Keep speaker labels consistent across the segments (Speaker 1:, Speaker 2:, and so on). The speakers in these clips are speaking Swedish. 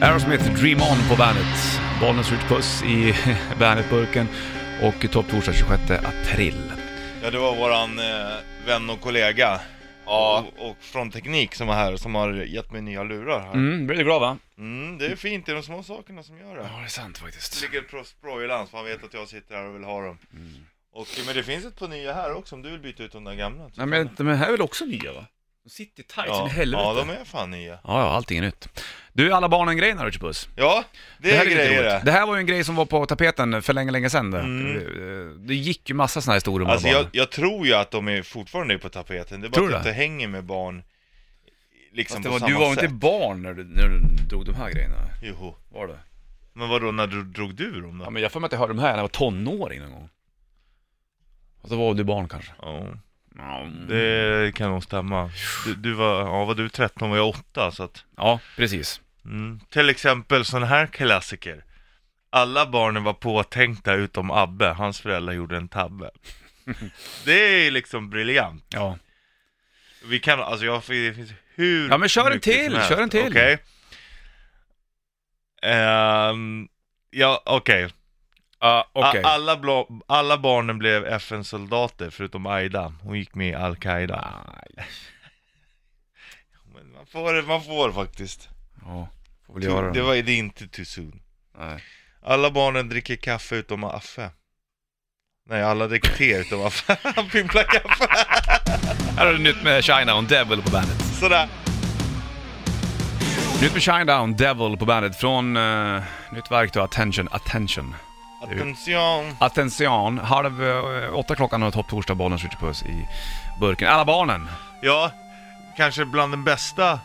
Speaker 1: Aerosmith Dream On på bandet. Bollnäs skjuter puss i bandetburken och topp torsdag 26 april.
Speaker 2: Ja, det var våran eh, vän och kollega
Speaker 3: Ja,
Speaker 2: och, och från Teknik som var här som har gett mig nya lurar här. Mm.
Speaker 1: Mm, blir du glad va?
Speaker 2: det är fint, det är de små sakerna som gör det.
Speaker 1: Ja, det är sant
Speaker 2: Det
Speaker 1: faktiskt.
Speaker 2: ligger ett pro- sprojlans för han vet att jag sitter här och vill ha dem.
Speaker 1: Mm.
Speaker 2: Och, men det finns ett par nya här också om du vill byta ut de där gamla.
Speaker 1: Nej men de här är väl också nya va? De sitter tight
Speaker 2: ja.
Speaker 1: som i helvete.
Speaker 2: ja, de är fan nya.
Speaker 1: Ja, ja, allting är nytt. Du, alla barnen-grejen har du puss.
Speaker 2: Ja, det, är
Speaker 1: lite
Speaker 2: grejer
Speaker 1: roligt.
Speaker 2: det.
Speaker 1: Det här var ju en grej som var på tapeten för länge, länge sedan. Det, det gick ju massa sådana här historier om
Speaker 2: Alltså
Speaker 1: alla
Speaker 2: jag,
Speaker 1: barn.
Speaker 2: jag tror ju att de är fortfarande är på tapeten, det är bara
Speaker 1: Tror
Speaker 2: att
Speaker 1: du
Speaker 2: jag inte
Speaker 1: det?
Speaker 2: hänger med barn liksom
Speaker 1: Fast det
Speaker 2: på
Speaker 1: var,
Speaker 2: samma
Speaker 1: du var ju
Speaker 2: sätt.
Speaker 1: inte barn när du, när du drog de här grejerna?
Speaker 2: Jo.
Speaker 1: Var du?
Speaker 2: Men vadå, när du, drog du dem då?
Speaker 1: Ja, men jag får mig att jag hörde de här när jag var tonåring någon gång. Och då var du barn kanske?
Speaker 2: Ja,
Speaker 1: Mm.
Speaker 2: det kan nog stämma. Du, du var, ja var du 13 var jag 8 så att
Speaker 1: Ja, precis.
Speaker 2: Mm. Till exempel sån här klassiker. Alla barnen var påtänkta utom Abbe, hans föräldrar gjorde en tabbe. Det är liksom briljant.
Speaker 1: Ja.
Speaker 2: Vi kan, alltså jag, det finns hur
Speaker 1: Ja, men kör en
Speaker 2: mycket som
Speaker 1: till,
Speaker 2: helst.
Speaker 1: kör en till.
Speaker 2: Okej. Ehm, ja, okej.
Speaker 1: Ja,
Speaker 2: A-
Speaker 1: okej.
Speaker 2: Alla, blå- alla barnen blev FN-soldater förutom Aida. Hon gick med i
Speaker 1: Ah.
Speaker 2: Al-Qaida.
Speaker 1: Nej.
Speaker 2: Men man får det, man får faktiskt.
Speaker 1: Ja, får väl göra det.
Speaker 2: Det, var, det är inte too soon.
Speaker 1: Nej.
Speaker 2: Alla barnen dricker kaffe utom Affe. Nej, alla dricker te utom Affe. Han pimplar kaffe.
Speaker 1: Här har du nytt med Shinedown Devil på bandet.
Speaker 2: Sådär.
Speaker 1: Nytt med Shinedown Devil på bandet från eh, nytt verk då, Attention, Attention.
Speaker 2: Attention.
Speaker 1: Attention, halv eh, åtta klockan och topp torsdag, bollen skjuter puss i burken. Alla barnen.
Speaker 2: Ja, kanske bland de bästa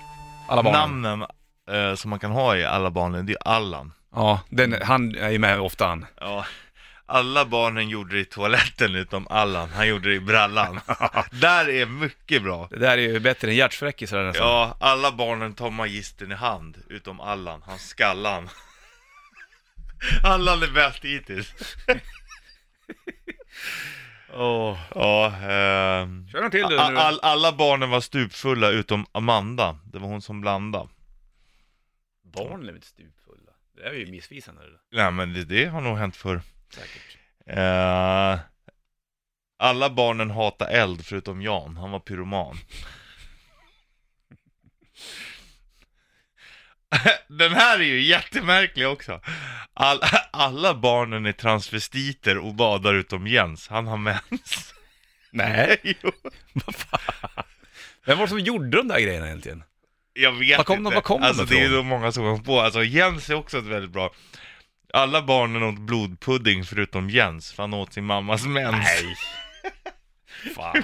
Speaker 1: Alla barnen.
Speaker 2: namnen eh, som man kan ha i alla barnen, det är Allan.
Speaker 1: Ja, den, han är ju med ofta han.
Speaker 2: Ja. Alla barnen gjorde det i toaletten utom Allan, han gjorde det i brallan. Där är mycket bra.
Speaker 1: Det där är ju bättre än hjärtfräckisar nästan.
Speaker 2: Ja, alla barnen tar magistern i hand, utom Allan, han skallan. Allan är bäst hittills.
Speaker 1: Åh.
Speaker 2: Ja, ehm...
Speaker 1: Kör en till du
Speaker 2: all,
Speaker 1: nu.
Speaker 2: all, alla barnen var stupfulla utom Amanda, det var hon som blandade.
Speaker 1: Barn är väl inte stupfulla? Det är ju missvisande det där.
Speaker 2: Nej men det, det har nog hänt förr.
Speaker 1: Säkert.
Speaker 2: Eh, alla barnen hatar eld förutom Jan, han var pyroman. Den här är ju jättemärklig också. All, alla barnen är transvestiter och badar utom Jens, han har mens.
Speaker 1: Nej,
Speaker 2: Jo,
Speaker 1: vem var det som gjorde de där grejerna egentligen?
Speaker 2: Jag vet
Speaker 1: Var kom de-
Speaker 2: inte.
Speaker 1: var kom de
Speaker 2: alltså det är
Speaker 1: ifrån?
Speaker 2: ju många som kom på. Alltså Jens är också ett väldigt bra. Alla barnen åt blodpudding förutom Jens, för han åt sin mammas mens.
Speaker 1: Fan.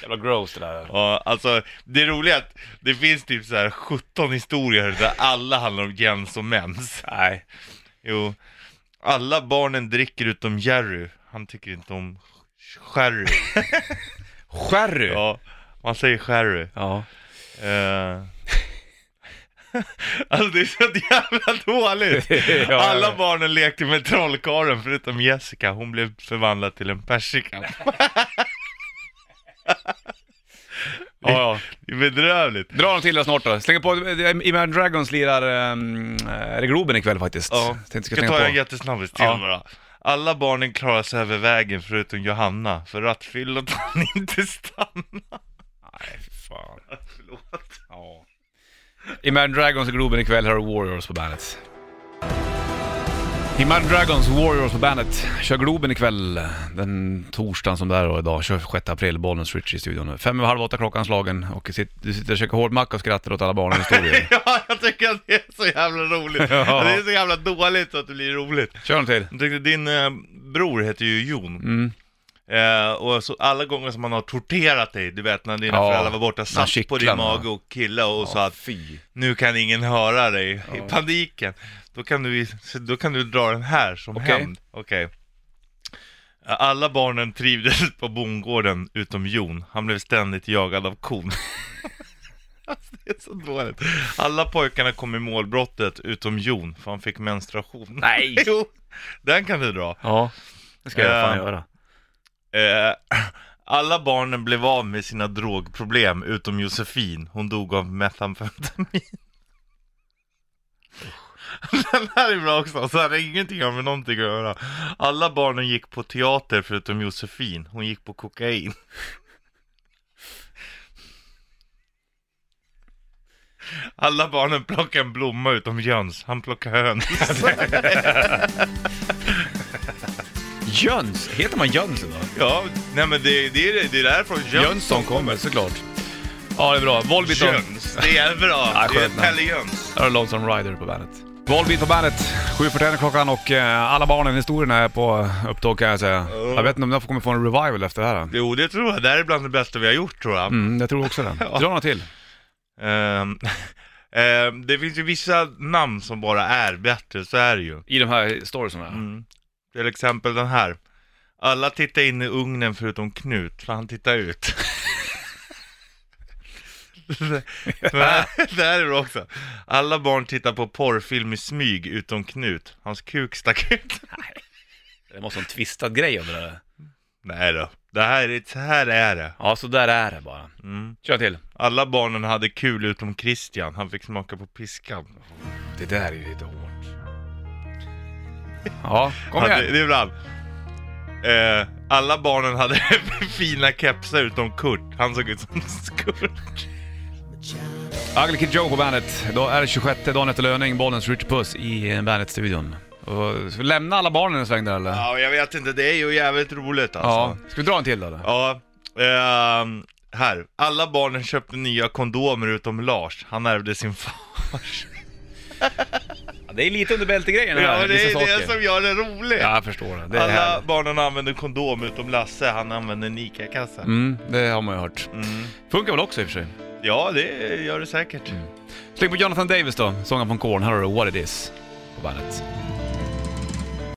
Speaker 1: Jävla gross det där.
Speaker 2: Ja, alltså det roliga är att det finns typ så här 17 historier där alla handlar om Jens och mens.
Speaker 1: Nej.
Speaker 2: Jo. Alla barnen dricker utom Jerry. Han tycker inte om sherry.
Speaker 1: Sherry. Ja.
Speaker 2: Ja, man säger sherry.
Speaker 1: ja.
Speaker 2: Eh. Alltså det är så jävla dåligt! Alla barnen lekte med trollkarlen förutom Jessica, hon blev förvandlad till en persika.
Speaker 1: Ja, ja.
Speaker 2: Det är bedrövligt.
Speaker 1: Dra dem till då snart då. Slänger på, Imagine Dragons lirar um, Globen ikväll faktiskt.
Speaker 2: Ja,
Speaker 1: Tänkte jag ska
Speaker 2: ska
Speaker 1: slänga
Speaker 2: ta en
Speaker 1: på.
Speaker 2: jättesnabbis till
Speaker 1: Ja.
Speaker 2: bara. Alla barnen klarar sig över vägen förutom Johanna, för rattfyllot han inte stanna.
Speaker 1: Nej, fy fan.
Speaker 2: Förlåt.
Speaker 1: Ja. Imagine Dragons och Globen ikväll har du Warriors på bandet. Imagine Dragons, Warriors på bandet. Kör Globen ikväll, den torsdagen som det är då idag, 26 april, Bollnäs Rich i studion. Fem över halv åtta klockan slagen och sit- du sitter och käkar hårdmacka och skrattar åt alla barnens historier.
Speaker 2: Ja, jag tycker att det är så jävla roligt.
Speaker 1: Ja.
Speaker 2: Det är så jävla dåligt så att det blir roligt.
Speaker 1: Kör en till.
Speaker 2: Jag tyckte din eh, bror heter ju Jon.
Speaker 1: Mm.
Speaker 2: Eh, och så alla gånger som man har torterat dig, du vet när dina
Speaker 1: Ja,
Speaker 2: föräldrar var borta, satt på din
Speaker 1: kittlarna.
Speaker 2: mage och killa och sa att
Speaker 1: fy.
Speaker 2: nu kan ingen höra dig i paniken. Då kan, du, i- då kan du dra den här som
Speaker 1: Okej.
Speaker 2: hämnd. Okej. Alla barnen trivdes på bondgården utom Jon. Han blev ständigt jagad av kon. alltså, det är så dåligt. Alla pojkarna kom i målbrottet utom Jon, för han fick menstruation.
Speaker 1: Nej.
Speaker 2: jo, den kan du dra.
Speaker 1: Ja, det ska jag fan
Speaker 2: Eh,
Speaker 1: göra.
Speaker 2: Eh, alla barnen blev av med sina drogproblem utom Josefin. Hon dog av metamfetamin. Den här är bra också, så här har ingenting har med någonting att göra. Alla barnen gick på teater förutom Josefin, hon gick på kokain. Alla barnen plockade en blomma utom Jöns, han plockade höns.
Speaker 1: Jöns! Heter man Jöns idag?
Speaker 2: Ja, nej men det, det, är, det är därifrån Jöns
Speaker 1: Jönsson kommer såklart. Ja, det är bra. Volbeat och...
Speaker 2: Jöns, det är bra.
Speaker 1: Ja,
Speaker 2: det är
Speaker 1: skönt namn.
Speaker 2: Pelle Jöns.
Speaker 1: Där har Lonesome Rider på bandet. Volbeat på bandet. 7.41 klockan och eh, alla barnen, historien är på upptåg kan jag säga. Jag vet inte om den kommer få en revival efter det här.
Speaker 2: Jo, det tror jag. Det här är bland det bästa vi har gjort tror jag.
Speaker 1: Mm, jag tror också det. Dra några till.
Speaker 2: Ehm, ehm, det finns ju vissa namn som bara är bättre, så är det ju. Mm.
Speaker 1: I de här storiesarna?
Speaker 2: Till exempel den här. Alla tittar in i ugnen förutom Knut, för han tittar ut. Men det här är bra också. Alla barn tittar på porrfilm i smyg utom Knut. Hans kuk stack ut.
Speaker 1: Det måste vara en twistad grej över det där.
Speaker 2: Nej då. Det här, är- så här är det.
Speaker 1: Ja, så där är det bara.
Speaker 2: Mm.
Speaker 1: Kör till.
Speaker 2: Alla barnen hade kul utom Christian. Han fick smaka på piskan.
Speaker 1: Det där är ju lite hårt. Ja, kom
Speaker 2: Ja, det,
Speaker 1: igen.
Speaker 2: det är bra. Eh, alla barnen hade fina kepsar utom Kurt. Han såg ut som Kurt.
Speaker 1: Ugly Kid Joe på bandet. Då är det 26 dagen efter löning, Bollens Rich Puss i eh, Bandet-studion. Och, ska vi lämna alla barnen en sväng där eller?
Speaker 2: Ja, jag vet inte. Det är ju jävligt roligt
Speaker 1: Ja.
Speaker 2: alltså.
Speaker 1: Ska vi dra en till då? eller?
Speaker 2: Ja. ehm, här. Alla barnen köpte nya kondomer utom Lars. Han ärvde sin fars.
Speaker 1: Ja, det är lite under bältegrejen
Speaker 2: Ja,
Speaker 1: här,
Speaker 2: men det
Speaker 1: vissa
Speaker 2: är det
Speaker 1: saker.
Speaker 2: som gör det roligt.
Speaker 1: Ja, jag förstår det. Det är
Speaker 2: Alla
Speaker 1: härligt.
Speaker 2: barnen använder kondom utom Lasse. Han använder en ICA-kassa.
Speaker 1: Mm, det har man ju hört.
Speaker 2: Mm.
Speaker 1: Funkar väl också i och för sig.
Speaker 2: Ja, det gör det säkert.
Speaker 1: Släng på Jonathan Davis då, sången från Korn. Här har du What It Is på bandet.